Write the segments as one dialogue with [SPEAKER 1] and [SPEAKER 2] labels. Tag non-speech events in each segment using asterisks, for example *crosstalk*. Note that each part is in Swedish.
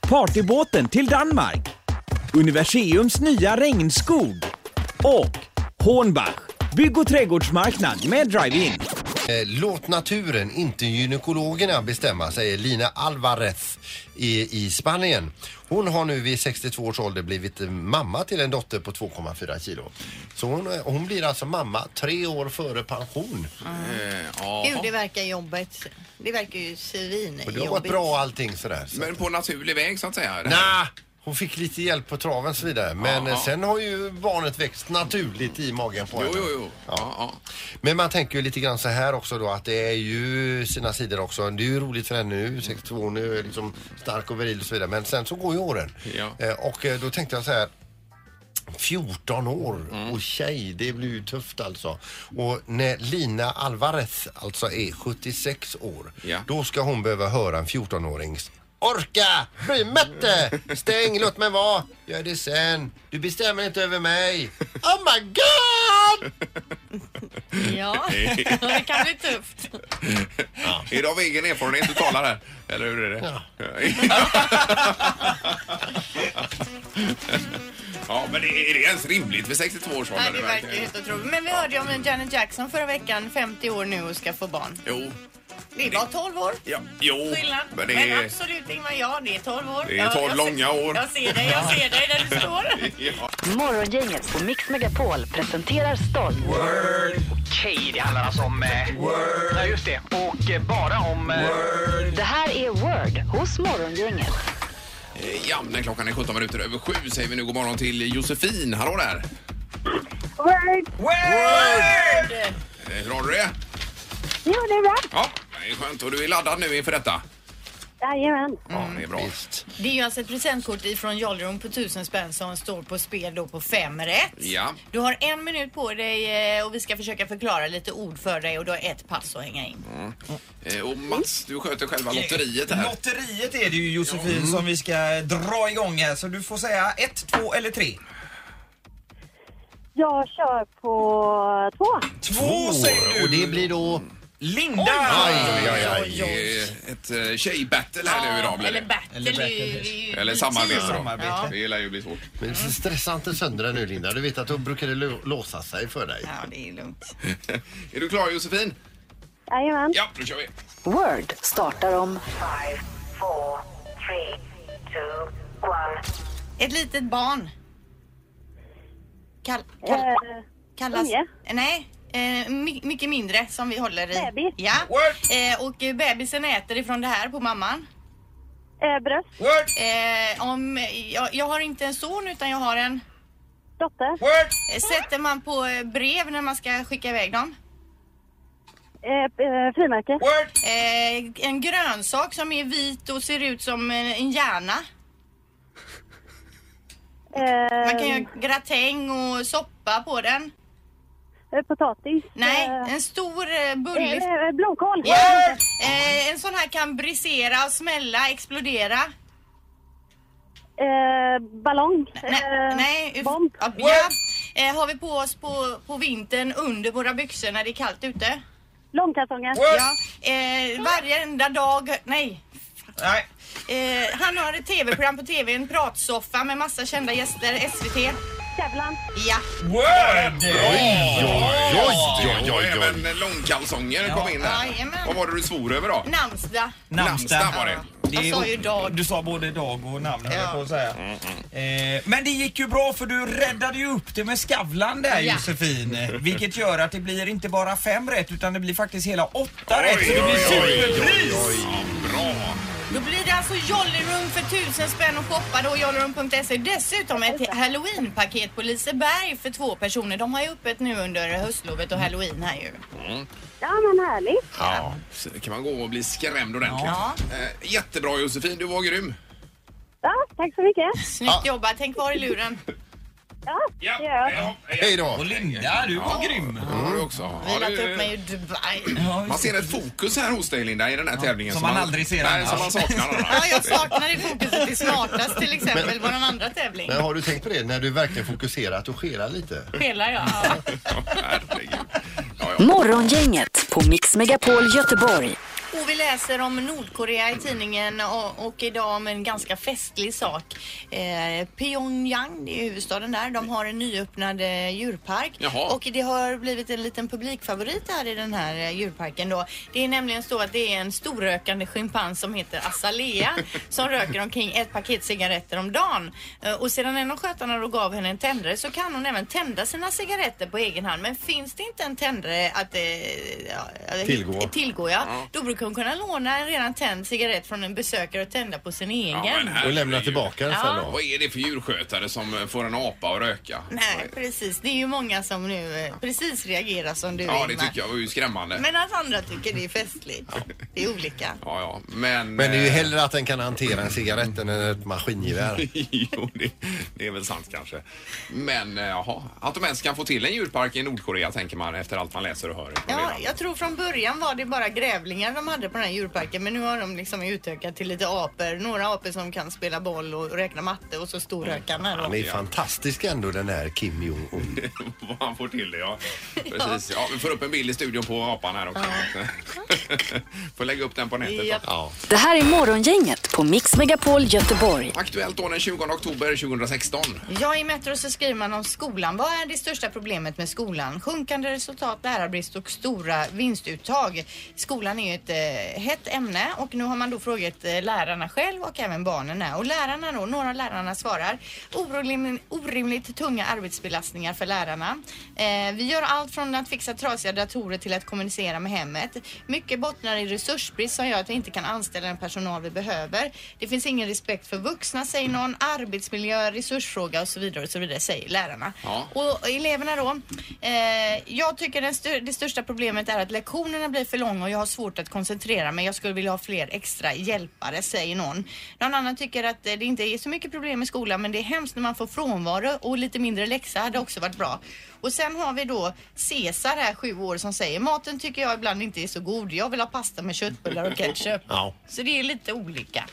[SPEAKER 1] partybåten till Danmark. Universiums nya regnskog. Och Hornbach, bygg och trädgårdsmarknad med drive-in.
[SPEAKER 2] Eh, Låt naturen, inte gynekologerna bestämma, säger Lina Alvarez i, i Spanien. Hon har nu vid 62 års ålder blivit eh, mamma till en dotter på 2,4 kilo. Så hon, eh, hon blir alltså mamma tre år före pension.
[SPEAKER 3] Gud, det verkar jobbigt. Det verkar ju svinjobbigt.
[SPEAKER 2] Och det har varit bra allting sådär. Så.
[SPEAKER 4] Men på naturlig väg så att säga?
[SPEAKER 2] Nja, hon fick lite hjälp på traven och så vidare. Men eh,
[SPEAKER 4] Ja, ja.
[SPEAKER 2] sen har ju barnet växt naturligt i magen på
[SPEAKER 4] Jo,
[SPEAKER 2] henne.
[SPEAKER 4] jo, jo. Ja, ja.
[SPEAKER 2] Men man tänker ju lite grann så här också då att det är ju sina sidor också. Det är ju roligt för henne nu, 62, nu är liksom stark och viril och så vidare. Men sen så går ju åren.
[SPEAKER 4] Ja.
[SPEAKER 2] Eh, Och eh, då tänkte jag så här. 14 år och tjej, det blir ju tufft alltså. Och när Lina Alvarez alltså är 76 år,
[SPEAKER 4] Ja.
[SPEAKER 2] då ska hon behöva höra en 14-årings Orka! Bry mig inte! Stäng, låt mig vara! Gör det sen. Du bestämmer inte över mig. Oh my god!
[SPEAKER 4] *laughs*
[SPEAKER 3] Ja, *laughs* det kan bli tufft.
[SPEAKER 4] Är det av egen erfarenhet du talar här? Eller hur är det? *laughs* ja, men är är det ens rimligt vid 62 års ålder?
[SPEAKER 3] Nej, det verkar ju helt otroligt. Men vi hörde ju om Janet Jackson förra veckan, 50 år nu och ska få barn.
[SPEAKER 4] Jo.
[SPEAKER 3] Det var 12 år.
[SPEAKER 4] Ja, jo.
[SPEAKER 3] Skillnad.
[SPEAKER 4] Men
[SPEAKER 3] Men,
[SPEAKER 4] det är...
[SPEAKER 3] absolut Ingmar, ja det är 12 år.
[SPEAKER 4] Det är 12
[SPEAKER 3] Ja, jag
[SPEAKER 4] långa
[SPEAKER 3] ser-
[SPEAKER 4] år.
[SPEAKER 3] Jag ser dig, jag ser dig
[SPEAKER 4] *laughs*
[SPEAKER 3] där du står.
[SPEAKER 4] Ja.
[SPEAKER 5] Morgongänget på Mix Megapol presenterar stolt.
[SPEAKER 6] Okej, det handlar alltså om... Eh, Word. Ja, just det. Och eh, bara om... Eh,
[SPEAKER 5] Det här är Word hos Morgongänget.
[SPEAKER 4] Eh, ja, när klockan är 17 minuter över sju säger vi nu god morgon till Josefin. Hallå där! Eh, Hur har du det?
[SPEAKER 7] Jo, det är bra.
[SPEAKER 4] Ja, det är skönt. Och du är laddad nu inför detta?
[SPEAKER 7] Jajamän.
[SPEAKER 4] Ja, det är bra.
[SPEAKER 3] Det är ju alltså ett presentkort ifrån Jollerum på 1000 spänn som står på spel då på fem rätt.
[SPEAKER 4] Ja.
[SPEAKER 3] Du har en minut på dig eh, och vi ska försöka förklara lite ord för dig och du har ett pass att hänga in.
[SPEAKER 4] Eh, Och Mats, du sköter själva lotteriet här.
[SPEAKER 8] Lotteriet är det ju Josefin
[SPEAKER 3] Mm.
[SPEAKER 8] som vi ska dra igång här så du får säga ett, två eller tre.
[SPEAKER 7] Jag kör på två.
[SPEAKER 8] Två säger du.
[SPEAKER 2] Och det blir då...
[SPEAKER 8] Linda!
[SPEAKER 2] Aj, aj, aj.
[SPEAKER 4] Det är ett eh, tjejbattle här nu idag blir
[SPEAKER 3] Eller
[SPEAKER 4] det.
[SPEAKER 3] battle.
[SPEAKER 8] Eller battle.
[SPEAKER 3] det är ju- det är ju
[SPEAKER 4] Eller
[SPEAKER 3] politik.
[SPEAKER 4] samarbete då.
[SPEAKER 8] Samarbete.
[SPEAKER 3] Ja.
[SPEAKER 4] Det gillar ju att bli svårt.
[SPEAKER 2] Men stressa inte sönder dig nu Linda. Du vet att då brukar det lo- låsa sig för dig.
[SPEAKER 3] ja, det är lugnt.
[SPEAKER 4] Är du klar Josefin?
[SPEAKER 7] Jajamän.
[SPEAKER 4] Ja, då kör vi.
[SPEAKER 5] Word startar om
[SPEAKER 3] Ett litet barn. Kall, kall,
[SPEAKER 7] Eh,
[SPEAKER 3] kallas...
[SPEAKER 7] unge.
[SPEAKER 3] Nej. Eh, my, mycket mindre som vi håller i.
[SPEAKER 7] Bebis.
[SPEAKER 3] Ja.
[SPEAKER 8] Word.
[SPEAKER 3] Eh, och eh, bebisen äter ifrån det här på mamman.
[SPEAKER 7] eh, bröst.
[SPEAKER 8] Word,
[SPEAKER 3] Eh, om, jag, jag har inte en son utan jag har en...
[SPEAKER 7] Dotter.
[SPEAKER 8] word,
[SPEAKER 3] Eh, Sätter man på eh, brev när man ska skicka iväg dem?
[SPEAKER 7] Eh, eh, frimärke.
[SPEAKER 8] word,
[SPEAKER 3] Eh, en grönsak som är vit och ser ut som eh, en hjärna.
[SPEAKER 7] Eh,
[SPEAKER 3] Man kan göra gratäng och soppa på den.
[SPEAKER 7] eh, potatis.
[SPEAKER 3] Nej,
[SPEAKER 7] Eh,
[SPEAKER 3] en stor eh, bullig...
[SPEAKER 7] eh, eh, blomkål.
[SPEAKER 3] Ja. Eh, en sån här kan brisera, smälla, explodera.
[SPEAKER 7] Eh, ballong.
[SPEAKER 3] Nej,
[SPEAKER 7] Eh,
[SPEAKER 3] nej. uff-
[SPEAKER 7] Bomb.
[SPEAKER 3] Ja, ja. Eh, har vi på oss på, på vintern under våra byxor när det är kallt ute?
[SPEAKER 7] Långkalsonger.
[SPEAKER 8] word.
[SPEAKER 3] Ja. Eh, varenda dag... Nej.
[SPEAKER 8] Nej,
[SPEAKER 3] Eh, han har ett tv-program på tv, en pratsoffa med massa kända gäster, SVT.
[SPEAKER 7] Kävlan.
[SPEAKER 3] Ja.
[SPEAKER 8] word!
[SPEAKER 2] oj, oj,
[SPEAKER 4] Och
[SPEAKER 2] oj.
[SPEAKER 4] även långkalsonger kom in där.
[SPEAKER 3] Jajamän.
[SPEAKER 4] Vad var det du svor över då?
[SPEAKER 3] Namnsdag.
[SPEAKER 4] Namnsdag var det.
[SPEAKER 8] är-
[SPEAKER 3] Jag sa ju dag.
[SPEAKER 8] Du sa både dag och namn höll
[SPEAKER 3] Ja. Mm,
[SPEAKER 8] jag på att säga. Eh, men det gick ju bra för du räddade ju upp det med Skavlan
[SPEAKER 3] *laughs*
[SPEAKER 8] där
[SPEAKER 3] Ja.
[SPEAKER 8] Josefin. Vilket gör att det blir inte bara fem rätt utan det blir faktiskt hela åtta
[SPEAKER 4] Oj,
[SPEAKER 8] rätt. Så det blir
[SPEAKER 4] oj, oj, oj,
[SPEAKER 8] superpris!
[SPEAKER 4] Ja, bra.
[SPEAKER 3] Då blir det alltså Jollyroom för tusen spänn och shoppa då jollyroom.se. Dessutom ett halloweenpaket på Liseberg för två personer. De har ju öppet nu under höstlovet och halloween här ju.
[SPEAKER 7] Ja, men härligt.
[SPEAKER 4] Ja, så kan man gå och bli skrämd ordentligt.
[SPEAKER 3] Ja.
[SPEAKER 4] Eh, jättebra Josefin, du var grym.
[SPEAKER 7] Ja, Tack så mycket.
[SPEAKER 3] Snyggt jobbat. Tänk kvar i luren.
[SPEAKER 7] Ja,
[SPEAKER 4] Ja,
[SPEAKER 7] det gör jag.
[SPEAKER 2] Hej då.
[SPEAKER 8] Och Linda, du var grym.
[SPEAKER 4] Mm. Du också. Ja,
[SPEAKER 3] Vilat
[SPEAKER 4] det-
[SPEAKER 3] upp mig i Dubai.
[SPEAKER 4] man ser ett fokus här hos dig Linda i den här tävlingen.
[SPEAKER 8] som man aldrig ser
[SPEAKER 4] Nej,
[SPEAKER 8] annars.
[SPEAKER 4] som man saknar
[SPEAKER 3] *laughs* Ja,
[SPEAKER 4] annars.
[SPEAKER 3] jag saknar det fokuset i Smartast till exempel, vår andra tävling.
[SPEAKER 2] Men har du tänkt på det när du verkligen fokuserar att du skelar lite?
[SPEAKER 3] Spelar jag? Ja.
[SPEAKER 4] Ja, herregud. Ja, ja.
[SPEAKER 5] Morgongänget på Mix Megapol Göteborg.
[SPEAKER 3] Och vi läser om Nordkorea i tidningen och, och idag om en ganska festlig sak. Eh, Pyongyang, det är huvudstaden där, de har en nyöppnad eh, djurpark.
[SPEAKER 4] Jaha.
[SPEAKER 3] Och det har blivit en liten publikfavorit här i den här eh, djurparken då. Det är nämligen så att det är en storrökande schimpans som heter Azalea som röker omkring ett paket cigaretter om dagen. Eh, och sedan en av skötarna då gav henne en tändare så kan hon även tända sina cigaretter på egen hand. Men finns det inte en tändare att eh, ja,
[SPEAKER 2] Tillgå.
[SPEAKER 3] tillgå ja. Då brukar hon kunna låna en redan tänd cigarett från en besökare och tända på sin egen.
[SPEAKER 4] Ja, men herregud.
[SPEAKER 2] Och lämna tillbaka den sen då?
[SPEAKER 4] Vad är det för djurskötare som får en apa att röka?
[SPEAKER 3] Nej, precis. Det är ju många som nu eh, precis reagerar som du
[SPEAKER 4] Ja, det
[SPEAKER 3] Ingmar.
[SPEAKER 4] tycker jag var ju skrämmande.
[SPEAKER 3] Men att andra tycker det är festligt. Det är olika.
[SPEAKER 4] Ja, ja, men...
[SPEAKER 2] Men det är ju
[SPEAKER 4] eh,
[SPEAKER 2] hellre att den kan hantera en cigarett än ett maskingevär.
[SPEAKER 4] *laughs* jo, det, det är väl sant kanske. Men eh, jaha, att de ens kan få till en djurpark i Nordkorea tänker man efter allt man läser och hör. från
[SPEAKER 3] Ja,
[SPEAKER 4] redan.
[SPEAKER 3] jag tror från början var det bara grävlingar de hade på den här djurparken men nu har de liksom utökat till lite apor. Några apor som kan spela boll och räkna matte och så storrökarna
[SPEAKER 2] Han
[SPEAKER 3] då.
[SPEAKER 2] är fantastisk ändå den här Kim Jong-Un.
[SPEAKER 4] *laughs* Vad han får till
[SPEAKER 3] *laughs*
[SPEAKER 4] det, ja. Precis. Ja, vi får upp en bild i studion på apan här också. *laughs* får lägga upp den på nätet.
[SPEAKER 3] Japp.
[SPEAKER 4] Ja.
[SPEAKER 5] Det här är Morgongänget på Mix Megapol Göteborg.
[SPEAKER 4] Aktuellt då den 20 oktober 2016.
[SPEAKER 3] Ja, i Metro så skriver man om skolan. Vad är det största problemet med skolan? Sjunkande resultat, lärarbrist och stora vinstuttag. Skolan är ju ett eh, hett ämne och nu har man då frågat eh, lärarna själv och även barnen här. Och lärarna då, några av lärarna svarar orimligt, orimligt tunga arbetsbelastningar för lärarna. Eh, vi gör allt från att fixa trasiga datorer till att kommunicera med hemmet. Mycket bottnar i resursbrist som gör att vi inte kan anställa den personal vi behöver. Det finns ingen respekt för vuxna säger någon. Arbetsmiljö, resursfråga och så vidare och så vidare säger lärarna.
[SPEAKER 4] Ja.
[SPEAKER 3] Och eleverna då. Eh, jag tycker den stö- det största problemet är att lektionerna blir för långa och jag har svårt att koncentrera mig. Jag skulle vilja ha fler extra hjälpare säger någon. Någon annan tycker att eh, det inte är så mycket problem i skolan men det är hemskt när man får frånvaro och lite mindre läxa hade också varit bra. Och sen har vi då Cesar här, sju år, som säger maten tycker jag ibland inte är så god. Jag vill ha pasta med köttbullar och ketchup.
[SPEAKER 2] Ja.
[SPEAKER 3] Så det är lite olika.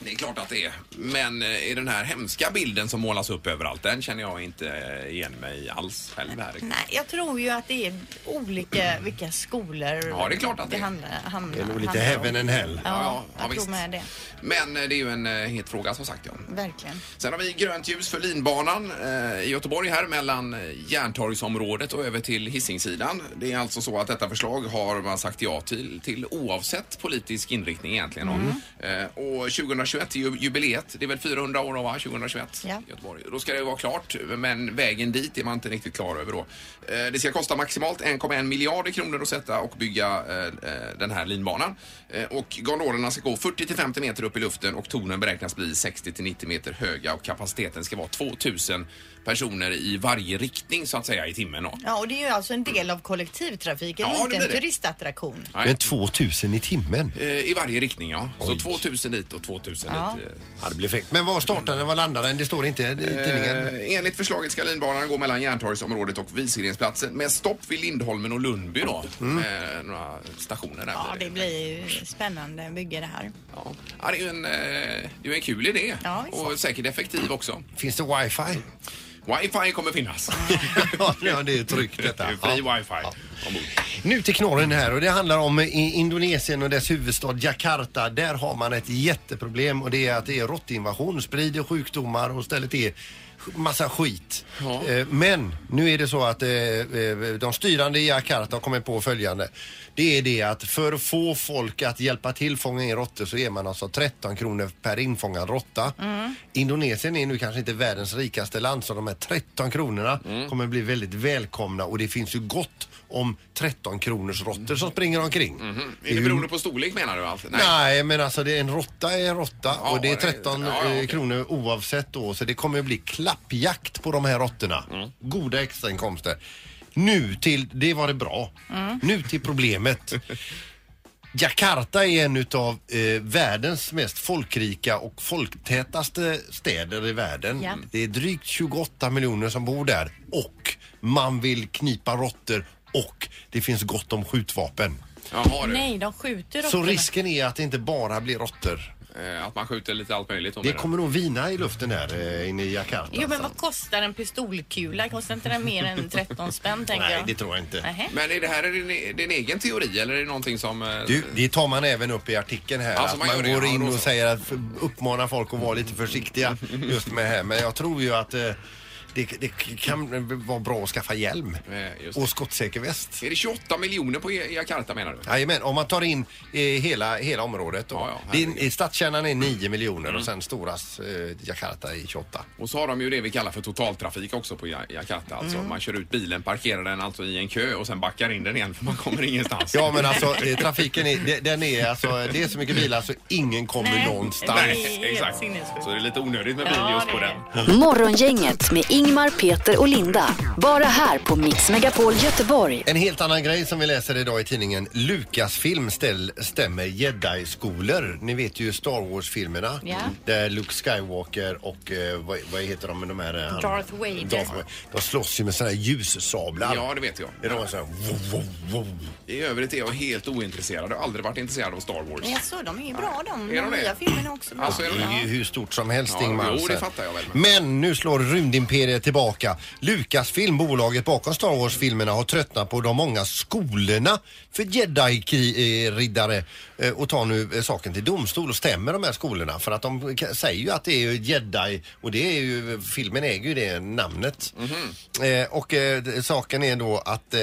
[SPEAKER 4] Det är klart att det är. Men eh, i den här hemska bilden som målas upp överallt, den känner jag inte eh, igen mig alls själv här.
[SPEAKER 3] Nej, jag tror ju att det är olika vilka skolor
[SPEAKER 4] Ja, det är klart att det är.
[SPEAKER 3] handlar, handlar,
[SPEAKER 2] Det är nog lite
[SPEAKER 3] handlar om.
[SPEAKER 2] heaven and hell.
[SPEAKER 3] Ja,
[SPEAKER 4] ja, ja,
[SPEAKER 3] jag
[SPEAKER 4] visst.
[SPEAKER 3] tror med det.
[SPEAKER 4] Men eh, det är ju en eh, het fråga som sagt. Ja.
[SPEAKER 3] Verkligen.
[SPEAKER 4] Sen har vi grönt ljus för linbanan eh, i Göteborg här mellan eh, Järntorgsområdet och över till Hisingsidan. Det är alltså så att detta förslag har man sagt ja till, till oavsett politisk inriktning egentligen.
[SPEAKER 3] Mm.
[SPEAKER 4] Eh, och 2021 är ju jubileet. Det är väl 400 år då, va? 2021
[SPEAKER 3] Ja.
[SPEAKER 4] Göteborg. Då ska det ju vara klart, men vägen dit är man inte riktigt klar över då. Eh, det ska kosta maximalt 1,1 miljarder kronor att sätta och bygga eh, eh, den här linbanan. Eh, och gondolerna ska gå 40 till 50 meter upp i luften och tornen beräknas bli 60 till 90 meter höga och kapaciteten ska vara 2000 personer i varje riktning så att säga i timmen då.
[SPEAKER 3] Ja, och det är ju alltså en del av kollektivtrafiken,
[SPEAKER 4] Ja, det
[SPEAKER 3] inte
[SPEAKER 4] blir
[SPEAKER 3] en
[SPEAKER 4] det.
[SPEAKER 3] turistattraktion.
[SPEAKER 2] Men 2000 i timmen.
[SPEAKER 4] Eh, I varje riktning ja. Så
[SPEAKER 2] Oj.
[SPEAKER 4] 2000 dit och 2000
[SPEAKER 3] Ja.
[SPEAKER 4] dit. eh,
[SPEAKER 2] Ja, det blir fräckt. Men var startar den? Var landar den? Det står inte i tidningen.
[SPEAKER 4] Eh, enligt förslaget ska linbanan gå mellan Järntorgsområdet och Visgrensplatsen med stopp vid Lindholmen och Lundby då.
[SPEAKER 2] Mm.
[SPEAKER 4] Eh, några stationer där.
[SPEAKER 3] Ja, det blir ju spännande bygge det här.
[SPEAKER 4] Ja. Ja, det är ju en, eh, det är ju en kul idé
[SPEAKER 3] Ja, visst.
[SPEAKER 4] och säkert effektiv också.
[SPEAKER 2] Finns det wifi? *laughs*
[SPEAKER 4] Wifi kommer finnas.
[SPEAKER 2] ja, det är ju tryggt
[SPEAKER 4] Det
[SPEAKER 2] detta.
[SPEAKER 4] är Fri
[SPEAKER 2] Ja.
[SPEAKER 4] wifi ombord.
[SPEAKER 2] Nu till knorren här och det handlar om eh, i Indonesien och dess huvudstad Jakarta. Där har man ett jätteproblem och det är att det är råttinvasion, sprider sjukdomar och ställer till massa skit.
[SPEAKER 4] Ja.
[SPEAKER 2] Eh, Men nu är det så att eh, eh, de styrande i Jakarta har kommit på följande. Det är det att för att få folk att hjälpa till fånga in råttor så ger man alltså 13 kronor per infångad råtta. Indonesien är nu kanske inte världens rikaste land så de här 13 kronorna kommer bli väldigt välkomna och det finns ju gott om 13 kronors råttor som springer omkring.
[SPEAKER 4] Är det beroende på storlek menar du? Allt?
[SPEAKER 2] Nej. men alltså det är en råtta är en råtta
[SPEAKER 4] Ja,
[SPEAKER 2] och det är
[SPEAKER 4] det-
[SPEAKER 2] 13
[SPEAKER 4] ja, ja,
[SPEAKER 2] eh,
[SPEAKER 4] okej.
[SPEAKER 2] kronor oavsett då så det kommer bli klappjakt på de här råttorna.
[SPEAKER 4] Mm.
[SPEAKER 2] Goda
[SPEAKER 4] Mm. *laughs*
[SPEAKER 2] extrainkomster. Nu till, det var det bra. Nu till problemet. Jakarta är en utav eh, världens mest folkrika och folktätaste städer i världen.
[SPEAKER 9] Ja.
[SPEAKER 2] Det är drygt 28 miljoner som bor där och man vill knipa råttor och det finns gott om skjutvapen.
[SPEAKER 3] Nej, de skjuter
[SPEAKER 2] Så
[SPEAKER 3] råttorna.
[SPEAKER 2] risken är att det inte bara blir råttor.
[SPEAKER 4] Eh, Att man skjuter lite allt möjligt.
[SPEAKER 2] Det kommer nog vina i luften här eh, inne i Jakarta.
[SPEAKER 3] Jo, men vad kostar en pistolkula? Kostar inte den mer än 13 spänn, tänker jag?
[SPEAKER 2] tror jag inte.
[SPEAKER 3] Nähä.
[SPEAKER 4] Men är det här din, din egen teori eller är det någonting som... eh,
[SPEAKER 2] Du, det tar man även upp i artikeln här.
[SPEAKER 4] Alltså,
[SPEAKER 2] att
[SPEAKER 4] man
[SPEAKER 2] man,
[SPEAKER 4] gör det,
[SPEAKER 2] går
[SPEAKER 4] ja,
[SPEAKER 2] in
[SPEAKER 4] då
[SPEAKER 2] och
[SPEAKER 4] så.
[SPEAKER 2] säger att uppmanar folk att vara lite
[SPEAKER 4] *laughs*
[SPEAKER 2] försiktiga just med det här. Men jag tror ju att eh, det, det kan vara bra att skaffa hjälm
[SPEAKER 4] Eh, just det.
[SPEAKER 2] och skottsäker väst.
[SPEAKER 4] Är det 28 miljoner på Ja- Jakarta menar du?
[SPEAKER 2] Jajamän, om man tar in eh, hela, hela området då. det är, i stadskärnan är 9 miljoner
[SPEAKER 4] Mm.
[SPEAKER 2] och sen stora eh, Jakarta är 28.
[SPEAKER 4] Och så har de ju det vi kallar för totaltrafik också på Ja- Jakarta. Alltså
[SPEAKER 2] Mm.
[SPEAKER 4] man kör ut bilen, parkerar den alltså i en kö och sen backar in den igen för man kommer
[SPEAKER 2] *laughs*
[SPEAKER 4] ingenstans.
[SPEAKER 2] Ja men alltså eh, trafiken är, de- den är alltså, det är så mycket bilar så ingen kommer någonstans.
[SPEAKER 4] Nej, *laughs* exakt. Så det är lite onödigt med bil just på den.
[SPEAKER 5] Morgongänget med Ingmar, Peter och Linda. Bara här på Mix Megapol Göteborg.
[SPEAKER 2] En helt annan grej som vi läser idag i tidningen. Lucasfilm ställ, stämmer jedi-skolor. Ni vet ju Star Wars-filmerna.
[SPEAKER 3] Ja.
[SPEAKER 2] Där Luke Skywalker och eh, vad, vad heter de, de här... eh, han-
[SPEAKER 3] Darth Vader.
[SPEAKER 2] Darth Vader. De slåss ju med sådana här ljussablar.
[SPEAKER 4] Ja, det vet jag.
[SPEAKER 2] Är de så här, wow, wow, wow.
[SPEAKER 4] I övrigt är jag helt ointresserad. Jag har aldrig varit intresserad av Star Wars.
[SPEAKER 3] Jaså, de är bra de.
[SPEAKER 4] Är de
[SPEAKER 3] de
[SPEAKER 4] det?
[SPEAKER 3] nya filmerna också. Bra.
[SPEAKER 4] Alltså, är de
[SPEAKER 2] Det är ju hur stort som helst
[SPEAKER 4] Ja,
[SPEAKER 2] Ingmar.
[SPEAKER 4] jo, det
[SPEAKER 2] Så-
[SPEAKER 4] fattar jag väl.
[SPEAKER 2] Men nu slår rymdimperiet tillbaka. Lucasfilm, bolaget bakom Star Wars-filmerna, har tröttnat på de många skolorna för jedi-riddare eh, och tar nu eh, saken till domstol och stämmer de här skolorna. För att de k- säger ju att det är ju jedi och det är ju, eh, filmen äger ju det namnet.
[SPEAKER 4] Mhm.
[SPEAKER 2] Eh, Och eh, d- saken är då att eh,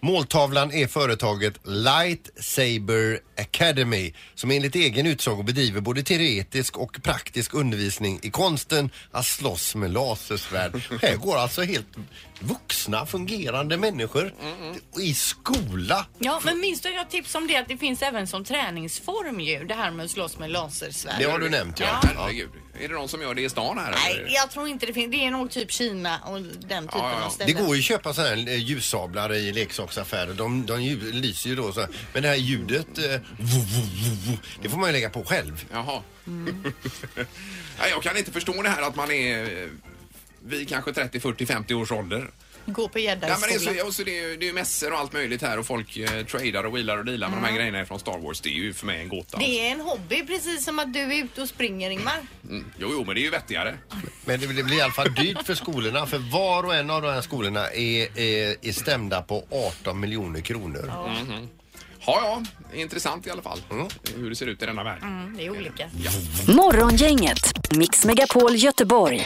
[SPEAKER 2] måltavlan är företaget Lightsaber Academy som enligt egen utsago bedriver både teoretisk och praktisk undervisning i konsten att slåss med lasersvärd. Här går alltså helt vuxna fungerande människor i skola.
[SPEAKER 3] Ja, men minns du att jag tipsade om det att det finns även som träningsform ju, det här med att slåss med lasersvärd.
[SPEAKER 2] Det har du nämnt ja.
[SPEAKER 4] Ja. Herregud. Är det någon som gör det i stan här?
[SPEAKER 3] Nej,
[SPEAKER 4] eller?
[SPEAKER 3] jag tror inte det finns. Det är nog typ Kina och den typen av
[SPEAKER 2] Det
[SPEAKER 3] ställen.
[SPEAKER 2] går ju att köpa sådana här eh, ljussablar i leksaksaffärer. De, de ljus, lyser ju då så här. Men det här ljudet, eh, vo, vo, vo, vo, det får man ju lägga på själv.
[SPEAKER 4] Jaha.
[SPEAKER 2] Mm.
[SPEAKER 4] *laughs* Nej, jag kan inte förstå det här att man är eh, vid kanske 30, 40, 50 års ålder.
[SPEAKER 3] Gå på
[SPEAKER 4] Ja, men det, är
[SPEAKER 3] gäddarskolan.
[SPEAKER 4] så, och så det, är ju, det är ju mässor och allt möjligt här och folk eh, tradar och wheelar och dealar med de här grejerna från Star Wars. Det är ju för mig en gåta.
[SPEAKER 3] Det är en hobby precis som att du är ute och springer Ingmar.
[SPEAKER 4] Mm. Jo, jo, men det är ju vettigare.
[SPEAKER 2] Men det blir det blir i alla fall dyrt för skolorna för var och en av de här skolorna är, är, är stämda på 18 miljoner kronor.
[SPEAKER 4] Mhm. Ja, ja, intressant i alla fall hur det ser ut i denna värld.
[SPEAKER 3] Mm, det är olika.
[SPEAKER 5] Morgongänget, Mix Megapol Göteborg.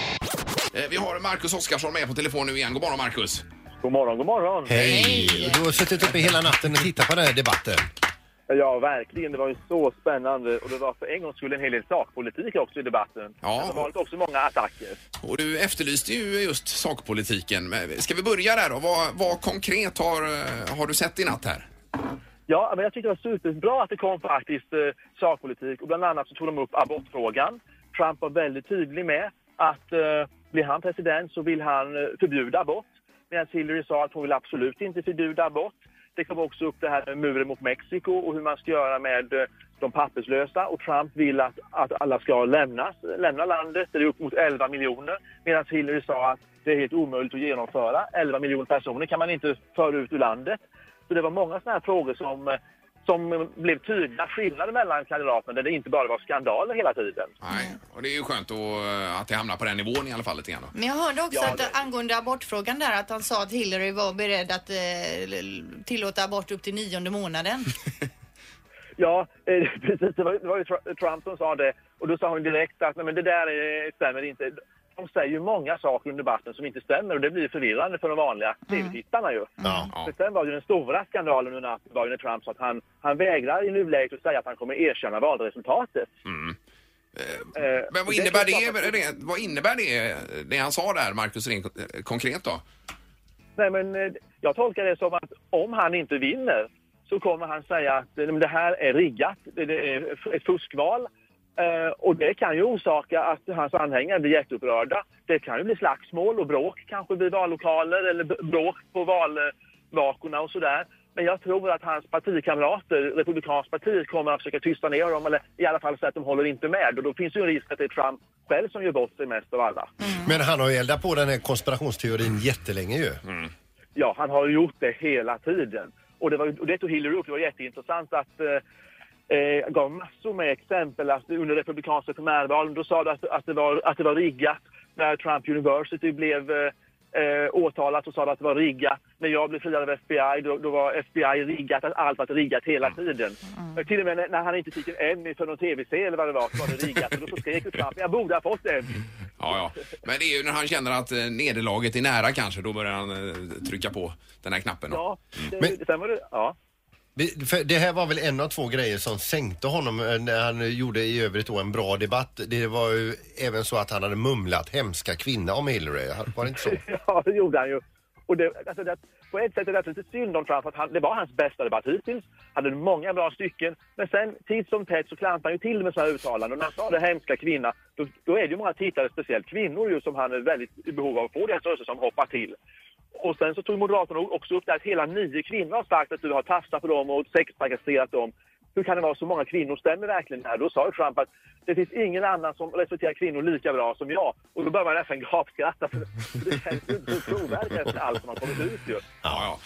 [SPEAKER 4] Eh, Vi har Marcus Oskarsson med på telefon nu igen. God morgon Marcus!
[SPEAKER 10] God morgon, god morgon!
[SPEAKER 2] Hej! Du har suttit uppe hela natten och tittat på den här debatten.
[SPEAKER 10] Ja, verkligen. Det var ju så spännande och det var för en gångs skull en hel del sakpolitik också i debatten.
[SPEAKER 4] Ja.
[SPEAKER 10] Men Det var också många attacker.
[SPEAKER 4] Och du efterlyste ju just sakpolitiken. Men Ska vi börja där då? Vad, vad konkret har, eh, har du sett i natt här?
[SPEAKER 10] Ja, men jag tyckte det var superbra att det kom faktiskt eh, sakpolitik och bland annat så tog de upp abortfrågan. Trump var väldigt tydlig med att eh, blir han president så vill han eh, förbjuda abort. Medan Hillary sa att hon vill absolut inte förbjuda abort. Det kom också upp det här med muren mot Mexiko och hur man ska göra med eh, de papperslösa och Trump vill att, att alla ska lämnas, lämna landet. Det är upp mot 11 miljoner. Medan Hillary sa att det är helt omöjligt att genomföra. 11 miljoner personer kan man inte föra ut ur landet. Så det var många sådana här frågor som, eh, som blev tydliga skillnader mellan kandidaterna där det inte bara var skandaler hela tiden.
[SPEAKER 4] Nej, och det är ju skönt att, eh, att det hamnar på den nivån i alla fall lite grann. då.
[SPEAKER 3] Men jag hörde också
[SPEAKER 4] Ja,
[SPEAKER 3] att angående abortfrågan där att han sa att Hillary var beredd att eh, l- tillåta abort upp till nionde månaden.
[SPEAKER 10] Ja, *laughs* eh, precis. Det var, det var ju Tr- Trump som sa det. Och då sa hon direkt att Nej, men det där eh, stämmer inte. De säger ju många saker under debatten som inte stämmer och det blir förvirrande för de vanliga tv-tittarna ju. Men sen var ju den stora skandalen under natten var ju när Trump sa att han, han vägrar i nuläget att säga att han kommer erkänna valresultatet. Eh,
[SPEAKER 4] Mm. Men vad
[SPEAKER 10] och
[SPEAKER 4] innebär
[SPEAKER 10] är klart
[SPEAKER 4] det,
[SPEAKER 10] att-
[SPEAKER 4] det, vad innebär det, det han sa där, Marcus Ring, eh, konkret då?
[SPEAKER 10] Nej, men eh, jag tolkar det som att om han inte vinner så kommer han säga att eh, men det här är riggat, det det är f- ett fuskval. Eh, Och det kan ju orsaka att hans anhängare blir jätteupprörda. Det kan ju bli slagsmål och bråk kanske vid vallokaler eller b- bråk på valvakorna och sådär. Men jag tror att hans partikamrater, Republikanska partiet, kommer att försöka tysta ner dem eller i alla fall säga att de håller inte med. Och då finns ju en risk att det är Trump själv som gör bort sig mest av alla.
[SPEAKER 2] Men han har ju eldat på den här konspirationsteorin jättelänge ju.
[SPEAKER 10] Ja, han har ju gjort det hela tiden. Och det, var, ju- och det tog Hillary upp. Det var jätteintressant att eh, eh, gav massor med exempel att under republikanska primärvalen. Då sa du att, att, det var, att det var riggat. När Trump University blev eh, eh, åtalat så sa du att det var riggat. När jag blev friad av FBI då, då var FBI riggat. Att allt var riggat hela tiden. Eh, Till och med när, när han inte fick en Emmy för någon tv-serie eller vad det var så var det riggat. Och då så skrek ju Trump jag borde ha fått en.
[SPEAKER 4] Ja, ja. Men det är ju när han känner att eh, nederlaget är nära kanske, då börjar han eh, trycka på den här knappen.
[SPEAKER 10] Ja, det, sen var det, ja.
[SPEAKER 2] Vi- För det här var väl en av två grejer som sänkte honom eh, när han gjorde i övrigt då en bra debatt. Det var ju även så att han hade mumlat hemska kvinna om Hillary. Var det inte så?
[SPEAKER 10] *laughs* Ja, det gjorde han ju. Och det, alltså det, på ett sätt är det alltså lite synd om Trump, för att han, det var hans bästa debatt hittills. Han hade många bra stycken, men sen titt som tätt så klampade han ju till med såna här uttalanden. Och när han sa det hemska kvinna, då, då är det ju många tittare, speciellt kvinnor ju, som han är väldigt i behov av att få deras röster som hoppar till. Och sen så tog Moderaterna också upp det att hela nio kvinnor har sagt att du har tafsat på dem och sextrakasserat dem. Hur kan det vara så många kvinnor? Stämmer verkligen det här? Då sa ju Trump att det finns ingen annan som respekterar kvinnor lika bra som jag. Och då börjar man nästan gapskratta för det känns ju inte så trovärdigt efter allt som har kommit ut ju.
[SPEAKER 4] Ja, ja.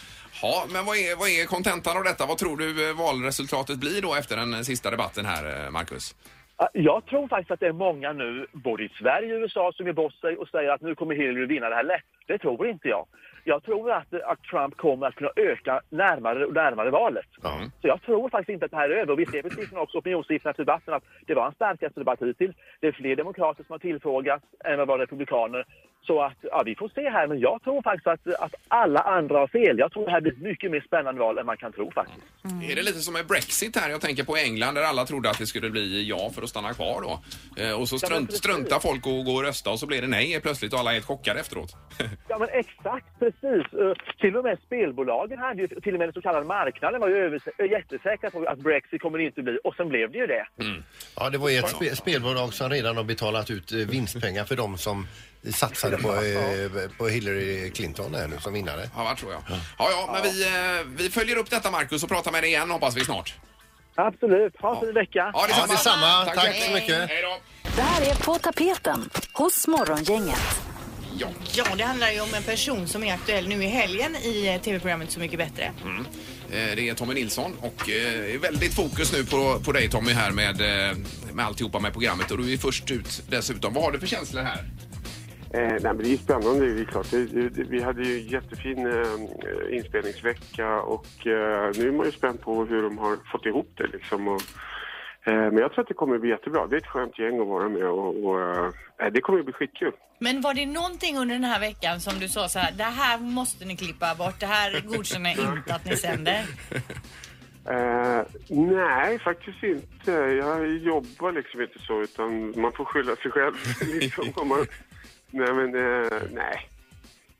[SPEAKER 4] Ja, men vad är, vad är kontentan av detta? Vad tror du eh, valresultatet blir då efter den eh, sista debatten här, eh, Marcus?
[SPEAKER 10] Ja, Jag tror faktiskt att det är många nu, både i Sverige och USA, som ger bort sig och säger att nu kommer Hillary vinna det här lätt. Det tror inte jag. Jag tror att, att Trump kommer att kunna öka närmare och närmare valet. Så jag tror faktiskt inte att det här är över. Och vi ser på siffrorna också, opinionssiffrorna till debatten, att det var en starkaste debatt hittills. Det är fler demokrater som har tillfrågats än vad det var republikaner. Så att, ja, vi får se här. Men jag tror faktiskt att, att alla andra har fel. Jag tror det här blir ett mycket mer spännande val än man kan tro faktiskt.
[SPEAKER 4] Är det lite som med Brexit här? Jag tänker på England där alla trodde att det skulle bli ja för att stanna kvar då. Eh, Och så strunt, struntar folk och går och rösta och så blir det nej plötsligt och alla är helt chockade efteråt. *laughs*
[SPEAKER 10] Ja, men exakt, precis. Eh, Till och med spelbolagen hade ju, till och med den så kallade marknaden var ju övers- jättesäkra på att Brexit kommer det inte bli. Och sen blev det ju det.
[SPEAKER 2] Ja, det var ju ett spe spelbolag som redan har betalat ut eh, vinstpengar för de som satsade på, eh, på Hillary Clinton här nu som vinnare.
[SPEAKER 4] Ja, vad tror jag. Ja, ja, men vi, eh, vi följer upp detta Marcus och pratar med dig igen hoppas vi snart.
[SPEAKER 10] Absolut. Ha en fin vecka.
[SPEAKER 4] Ja, detsamma.
[SPEAKER 2] detsamma. Tack,
[SPEAKER 4] Hej.
[SPEAKER 2] så mycket.
[SPEAKER 4] Hej då.
[SPEAKER 5] Det här är På tapeten hos Morgongänget.
[SPEAKER 4] Ja.
[SPEAKER 3] Ja, det handlar ju om en person som är aktuell nu i helgen i eh, tv-programmet Så mycket bättre.
[SPEAKER 4] Mm. Eh, Det är Tommy Nilsson och eh, är väldigt fokus nu på, på dig Tommy här med, eh, med alltihopa med programmet och du är först ut dessutom. Vad har du för känslor här?
[SPEAKER 9] Eh, nej, men det är ju spännande, det är klart. Det, det, vi hade ju jättefin eh, inspelningsvecka och eh, nu är man ju spänd på hur de har fått ihop det. Liksom, och, eh, men jag tror att det kommer bli jättebra. Det är ett skönt gäng att vara med och, och eh, det kommer ju bli skitkul.
[SPEAKER 3] Men var det någonting under den här veckan som du sa så här, det här måste ni klippa bort, det här godkänner jag inte att ni sänder?
[SPEAKER 9] Eh, nej, faktiskt inte. Jag jobbar liksom inte så, utan man får skylla sig själv. *laughs* liksom, om man... Nej, men eh, nej.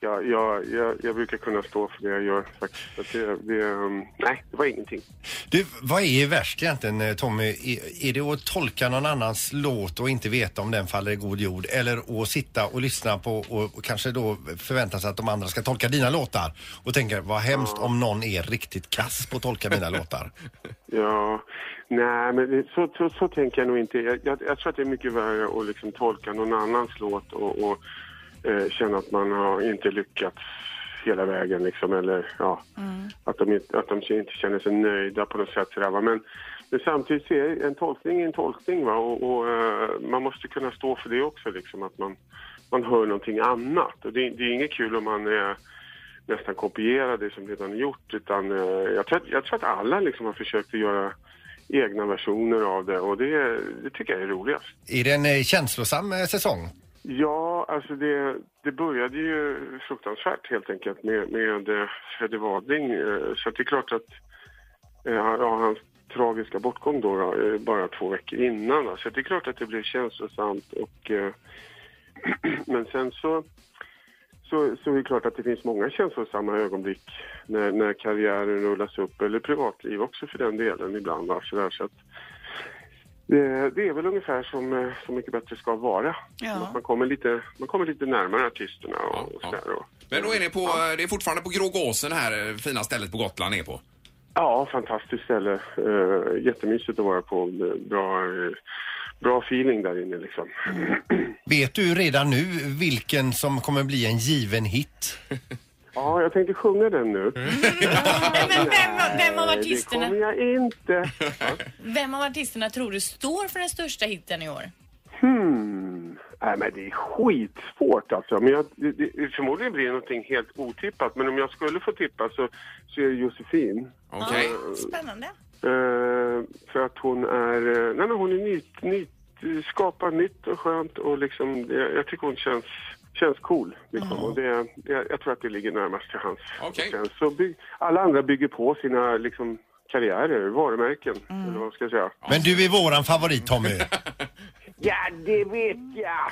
[SPEAKER 9] Jag, jag, jag, jag brukar kunna stå för det jag gör faktiskt. Så att Det, det, um, nej, det var ingenting.
[SPEAKER 2] Du, vad är värst egentligen eh, Tommy? Är, är det att tolka någon annans låt och inte veta om den faller i god jord? Eller att sitta och lyssna på och, och kanske då förvänta sig att de andra ska tolka dina låtar? Och tänka, vad hemskt om någon är riktigt kass på att tolka mina *laughs* låtar.
[SPEAKER 9] Ja, nej, men det- så, så, så tänker jag nog inte. Jag, jag, jag tror att det är mycket värre att liksom tolka någon annans låt och, och eh, känna att man har inte lyckats hela vägen liksom, eller ja, att, de, inte- att de inte känner sig nöjda på något sätt. Sådär, va? Men, men samtidigt så är en tolkning en tolkning va? och, och eh, man måste kunna stå för det också, liksom, att man, man hör någonting annat. Och det, det är inget kul om man är nästan kopiera det som redan är gjort. Utan, eh, jag, tror att, jag tror att alla liksom har försökt att göra egna versioner av det och det, det tycker jag är roligast.
[SPEAKER 2] Är det en eh, känslosam eh, säsong?
[SPEAKER 9] Ja, alltså det, det började ju fruktansvärt helt enkelt med, med eh, Freddy Wadling. eh, Så att det är klart att eh, ja, hans tragiska bortgång då, då eh, bara två veckor innan. va. Så det är klart att det blev känslosamt och eh, men sen så så, så är det klart att det finns många känslosamma ögonblick när, när karriären rullas upp, eller privatliv också för den delen ibland. Va? Så där, så att, det, det är väl ungefär som eh, Så mycket bättre ska vara. Att Man, kommer lite, man kommer lite närmare artisterna och, och sådär. Och,
[SPEAKER 4] Men då är ni på, det är fortfarande på Grågåsen här, eh, fina stället på Gotland ni är på.
[SPEAKER 9] Ja, fantastiskt ställe. Eh, jättemysigt att vara på. Bra, eh, bra feeling där inne liksom.
[SPEAKER 2] Vet du redan nu vilken som kommer bli en given hit?
[SPEAKER 9] Ja, jag tänkte sjunga den nu.
[SPEAKER 3] Men vem, vem
[SPEAKER 9] Nej,
[SPEAKER 3] av
[SPEAKER 9] det
[SPEAKER 3] artisterna...
[SPEAKER 9] kommer jag inte.
[SPEAKER 3] Vem av artisterna tror du står för den största hitten i år?
[SPEAKER 9] Hmm. Nej, men det är skitsvårt alltså. Men jag, det, det, förmodligen blir det någonting helt otippat. Men om jag skulle få tippa så, så är det Josefin.
[SPEAKER 4] Okej.
[SPEAKER 3] Ja, spännande.
[SPEAKER 9] Eh, för att hon är... eh, Nej, men hon är nytt, nytt, skapar nytt och skönt och liksom... det- Jag tycker hon känns, känns cool. Liksom. Och det, det, jag tror att det ligger närmast till hans. Sen så byg, alla andra bygger på sina liksom, karriärer, varumärken, eller vad ska jag säga.
[SPEAKER 2] Men du är våran favorit Tommy.
[SPEAKER 9] Ja, det vet jag!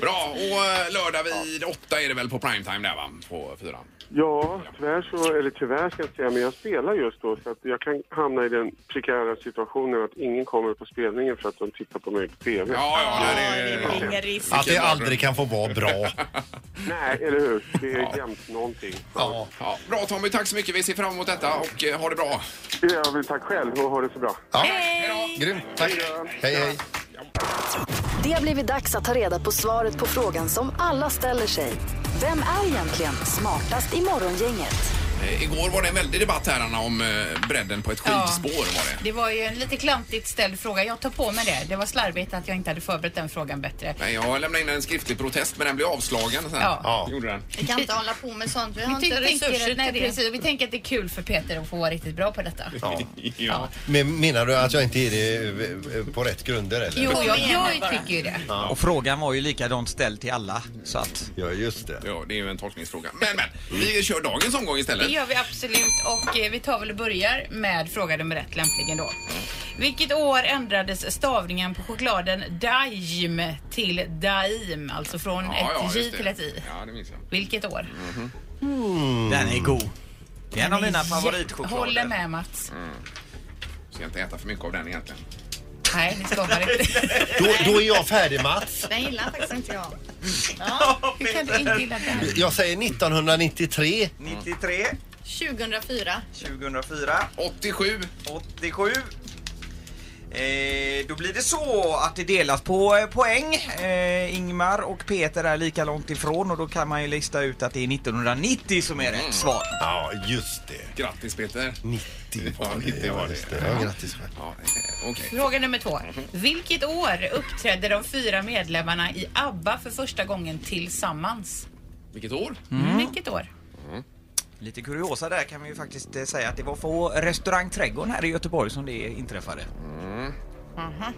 [SPEAKER 4] Bra, och eh, lördag vid åtta är det väl på primetime där va? På fyran.
[SPEAKER 9] Ja, tyvärr så, eller tyvärr ska jag inte säga, men jag spelar just då så att jag kan hamna i den prekära situationen att ingen kommer på spelningen för att de tittar på mig på TV.
[SPEAKER 4] Ja, ja,
[SPEAKER 2] Att det aldrig kan få vara bra.
[SPEAKER 9] Nej, eller hur? Det är jämt någonting.
[SPEAKER 2] Ja.
[SPEAKER 4] Ja, bra Tommy, tack så mycket. Vi ser fram emot detta och eh, ha det bra.
[SPEAKER 9] Jag vill tacka själv och ha det så bra.
[SPEAKER 2] Hej! Grymt, tack. Hej, hej.
[SPEAKER 5] Det har blivit dags att ta reda på svaret på frågan som alla ställer sig. Vem är egentligen smartast i morgongänget?
[SPEAKER 4] Eh, Igår var det en väldig debatt här Anna om eh, bredden på ett
[SPEAKER 3] Ja.
[SPEAKER 4] skidspår var det.
[SPEAKER 3] Det var ju en lite klantigt ställd fråga. Jag tar på mig det. Det var slarvigt att jag inte hade förberett den frågan bättre.
[SPEAKER 4] Nej, jag lämnade in en skriftlig protest men den blev avslagen. Sen.
[SPEAKER 3] Ja.
[SPEAKER 4] Gjorde den.
[SPEAKER 3] Vi kan inte hålla på med sånt. Vi har
[SPEAKER 11] inte resurser till
[SPEAKER 3] nej,
[SPEAKER 11] det.
[SPEAKER 3] Precis, och vi tänker att det är kul för Peter att få vara riktigt bra på detta.
[SPEAKER 2] Ja. Men menar du att jag inte är det eh, eh, på rätt grunder eller?
[SPEAKER 3] Jo, jag,
[SPEAKER 11] igen
[SPEAKER 3] jag
[SPEAKER 11] bara.
[SPEAKER 3] tycker ju det.
[SPEAKER 2] Ja.
[SPEAKER 8] Och frågan var ju likadant ställd till alla. Så att...
[SPEAKER 2] Ja, just det.
[SPEAKER 4] Ja, det är ju en tolkningsfråga. Men, men, vi kör dagens omgång istället.
[SPEAKER 3] Det gör vi absolut och eh, vi tar väl och börjar med fråga nummer ett lämpligen då. Vilket år ändrades stavningen på chokladen Daim till Daim? Alltså från
[SPEAKER 4] Ja, ja,
[SPEAKER 3] ett
[SPEAKER 4] just
[SPEAKER 3] J
[SPEAKER 4] det. Mm,
[SPEAKER 3] till ett I.
[SPEAKER 4] Ja, det minns jag.
[SPEAKER 3] Vilket år?
[SPEAKER 8] Den är god. Det är en av
[SPEAKER 3] Den är
[SPEAKER 8] mina
[SPEAKER 3] jä-
[SPEAKER 8] favoritchoklader.
[SPEAKER 3] Håller med Mats.
[SPEAKER 4] Ska inte äta för mycket av den egentligen.
[SPEAKER 3] Nej, det ska man inte.
[SPEAKER 2] Då, då är jag färdig Mats.
[SPEAKER 3] *laughs* Den gillar faktiskt inte
[SPEAKER 4] Mm.
[SPEAKER 3] jag. Ja, hur kan du inte gilla den?
[SPEAKER 2] Jag säger 1993.
[SPEAKER 8] 93,
[SPEAKER 3] 2004.
[SPEAKER 8] 2004.
[SPEAKER 4] 87.
[SPEAKER 8] 87. Eh, då blir det så att det delas på eh, poäng. Eh, Ingmar och Peter är lika långt ifrån och då kan man ju lista ut att det är 1990 som är rätt svar.
[SPEAKER 2] Ja, just det.
[SPEAKER 4] Grattis Peter.
[SPEAKER 2] 90
[SPEAKER 4] var det. 90 var det.
[SPEAKER 2] Ja, grattis själv.
[SPEAKER 4] Ja, eh, okej.
[SPEAKER 3] Fråga nummer två. Vilket år uppträdde de fyra medlemmarna i ABBA för första gången tillsammans?
[SPEAKER 4] Vilket år?
[SPEAKER 3] Vilket år?
[SPEAKER 8] Lite kuriosa där kan vi ju faktiskt eh, säga att det var på restaurang Trädgården här i Göteborg som det inträffade.
[SPEAKER 3] Aha.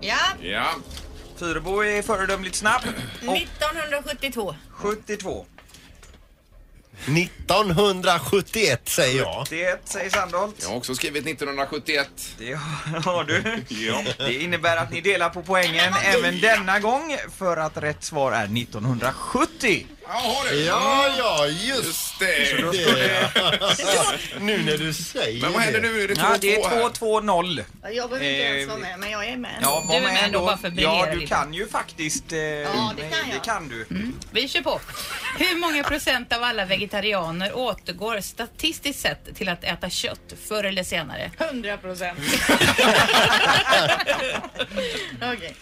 [SPEAKER 3] Ja,
[SPEAKER 4] Ja.
[SPEAKER 8] Fyrebo är föredömligt snabb. Och
[SPEAKER 3] 1972.
[SPEAKER 8] 72.
[SPEAKER 2] 1971 säger jag.
[SPEAKER 8] 71 säger Sandholt.
[SPEAKER 4] Jag har också skrivit 1971.
[SPEAKER 8] Det har *laughs* du.
[SPEAKER 4] Ja.
[SPEAKER 8] Det innebär att ni delar på poängen även denna gång för att rätt svar är 1970.
[SPEAKER 4] Jaha du.
[SPEAKER 2] Ja, ja, just
[SPEAKER 4] det.
[SPEAKER 2] *laughs* Nu när du säger
[SPEAKER 4] Men vad händer
[SPEAKER 2] det.
[SPEAKER 4] nu? Är det 2-2
[SPEAKER 8] Ja, det är
[SPEAKER 4] här?
[SPEAKER 8] 2-2-0.
[SPEAKER 3] Jag behöver inte
[SPEAKER 8] Eh,
[SPEAKER 3] ens vara med, men jag är med.
[SPEAKER 8] Ja, var
[SPEAKER 3] du är
[SPEAKER 8] ändå.
[SPEAKER 3] med ändå bara för att
[SPEAKER 8] Ja,
[SPEAKER 3] briljera
[SPEAKER 8] du
[SPEAKER 3] lite.
[SPEAKER 8] kan ju faktiskt... eh,
[SPEAKER 3] Ja, det kan jag. Mm.
[SPEAKER 8] Det kan du.
[SPEAKER 3] Vi kör på. Hur många procent av alla vegetarianer återgår statistiskt sett till att äta kött förr eller senare? 100 *laughs* procent. Okej.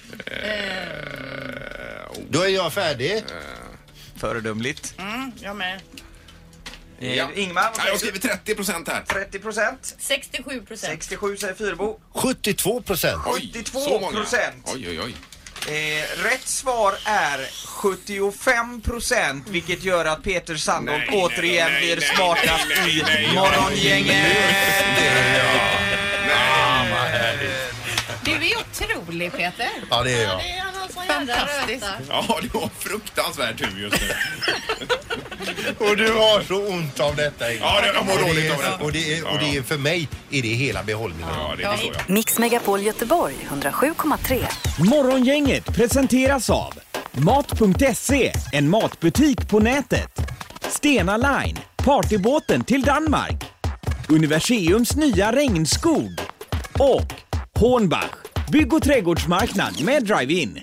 [SPEAKER 2] Då är jag färdig.
[SPEAKER 8] Föredömligt.
[SPEAKER 3] Mm, jag med.
[SPEAKER 8] Eh,
[SPEAKER 4] Ja.
[SPEAKER 8] Ingmar, vad
[SPEAKER 4] Nej, jag
[SPEAKER 8] säger
[SPEAKER 4] har skrivit 30 procent här.
[SPEAKER 8] 30 procent.
[SPEAKER 3] 67 procent.
[SPEAKER 8] 67 säger Fyrebo.
[SPEAKER 2] 72 procent.
[SPEAKER 4] Oj,
[SPEAKER 8] 82
[SPEAKER 4] så många.
[SPEAKER 8] procent.
[SPEAKER 4] Oj, oj, oj.
[SPEAKER 8] Eh, rätt svar är 75 procent vilket gör att Peter Sandholt
[SPEAKER 4] Nej, nej,
[SPEAKER 8] återigen
[SPEAKER 4] nej,
[SPEAKER 8] blir
[SPEAKER 4] nej,
[SPEAKER 8] smartast
[SPEAKER 4] nej, nej, nej,
[SPEAKER 8] i
[SPEAKER 4] nej.
[SPEAKER 8] Morgongänget!
[SPEAKER 3] Du är otrolig Peter.
[SPEAKER 2] Ja, det är jag.
[SPEAKER 7] är han som
[SPEAKER 3] Fantastiskt.
[SPEAKER 4] Ja, det var fruktansvärt tur just nu.
[SPEAKER 2] Och du har så ont av detta. Ingmar.
[SPEAKER 4] Ja, det- jag mår
[SPEAKER 2] Och
[SPEAKER 4] dåligt
[SPEAKER 2] är-
[SPEAKER 4] av det.
[SPEAKER 2] Och det är, och det är för mig är det hela behållningen.
[SPEAKER 4] Ja, det förstår jag.
[SPEAKER 5] Mix Megapol Göteborg 107,3.
[SPEAKER 1] Morgongänget presenteras av Mat.se, en matbutik på nätet. Stena Line, partybåten till Danmark. Universiums nya regnskog. Och Hornbach, bygg och trädgårdsmarknad med drive-in.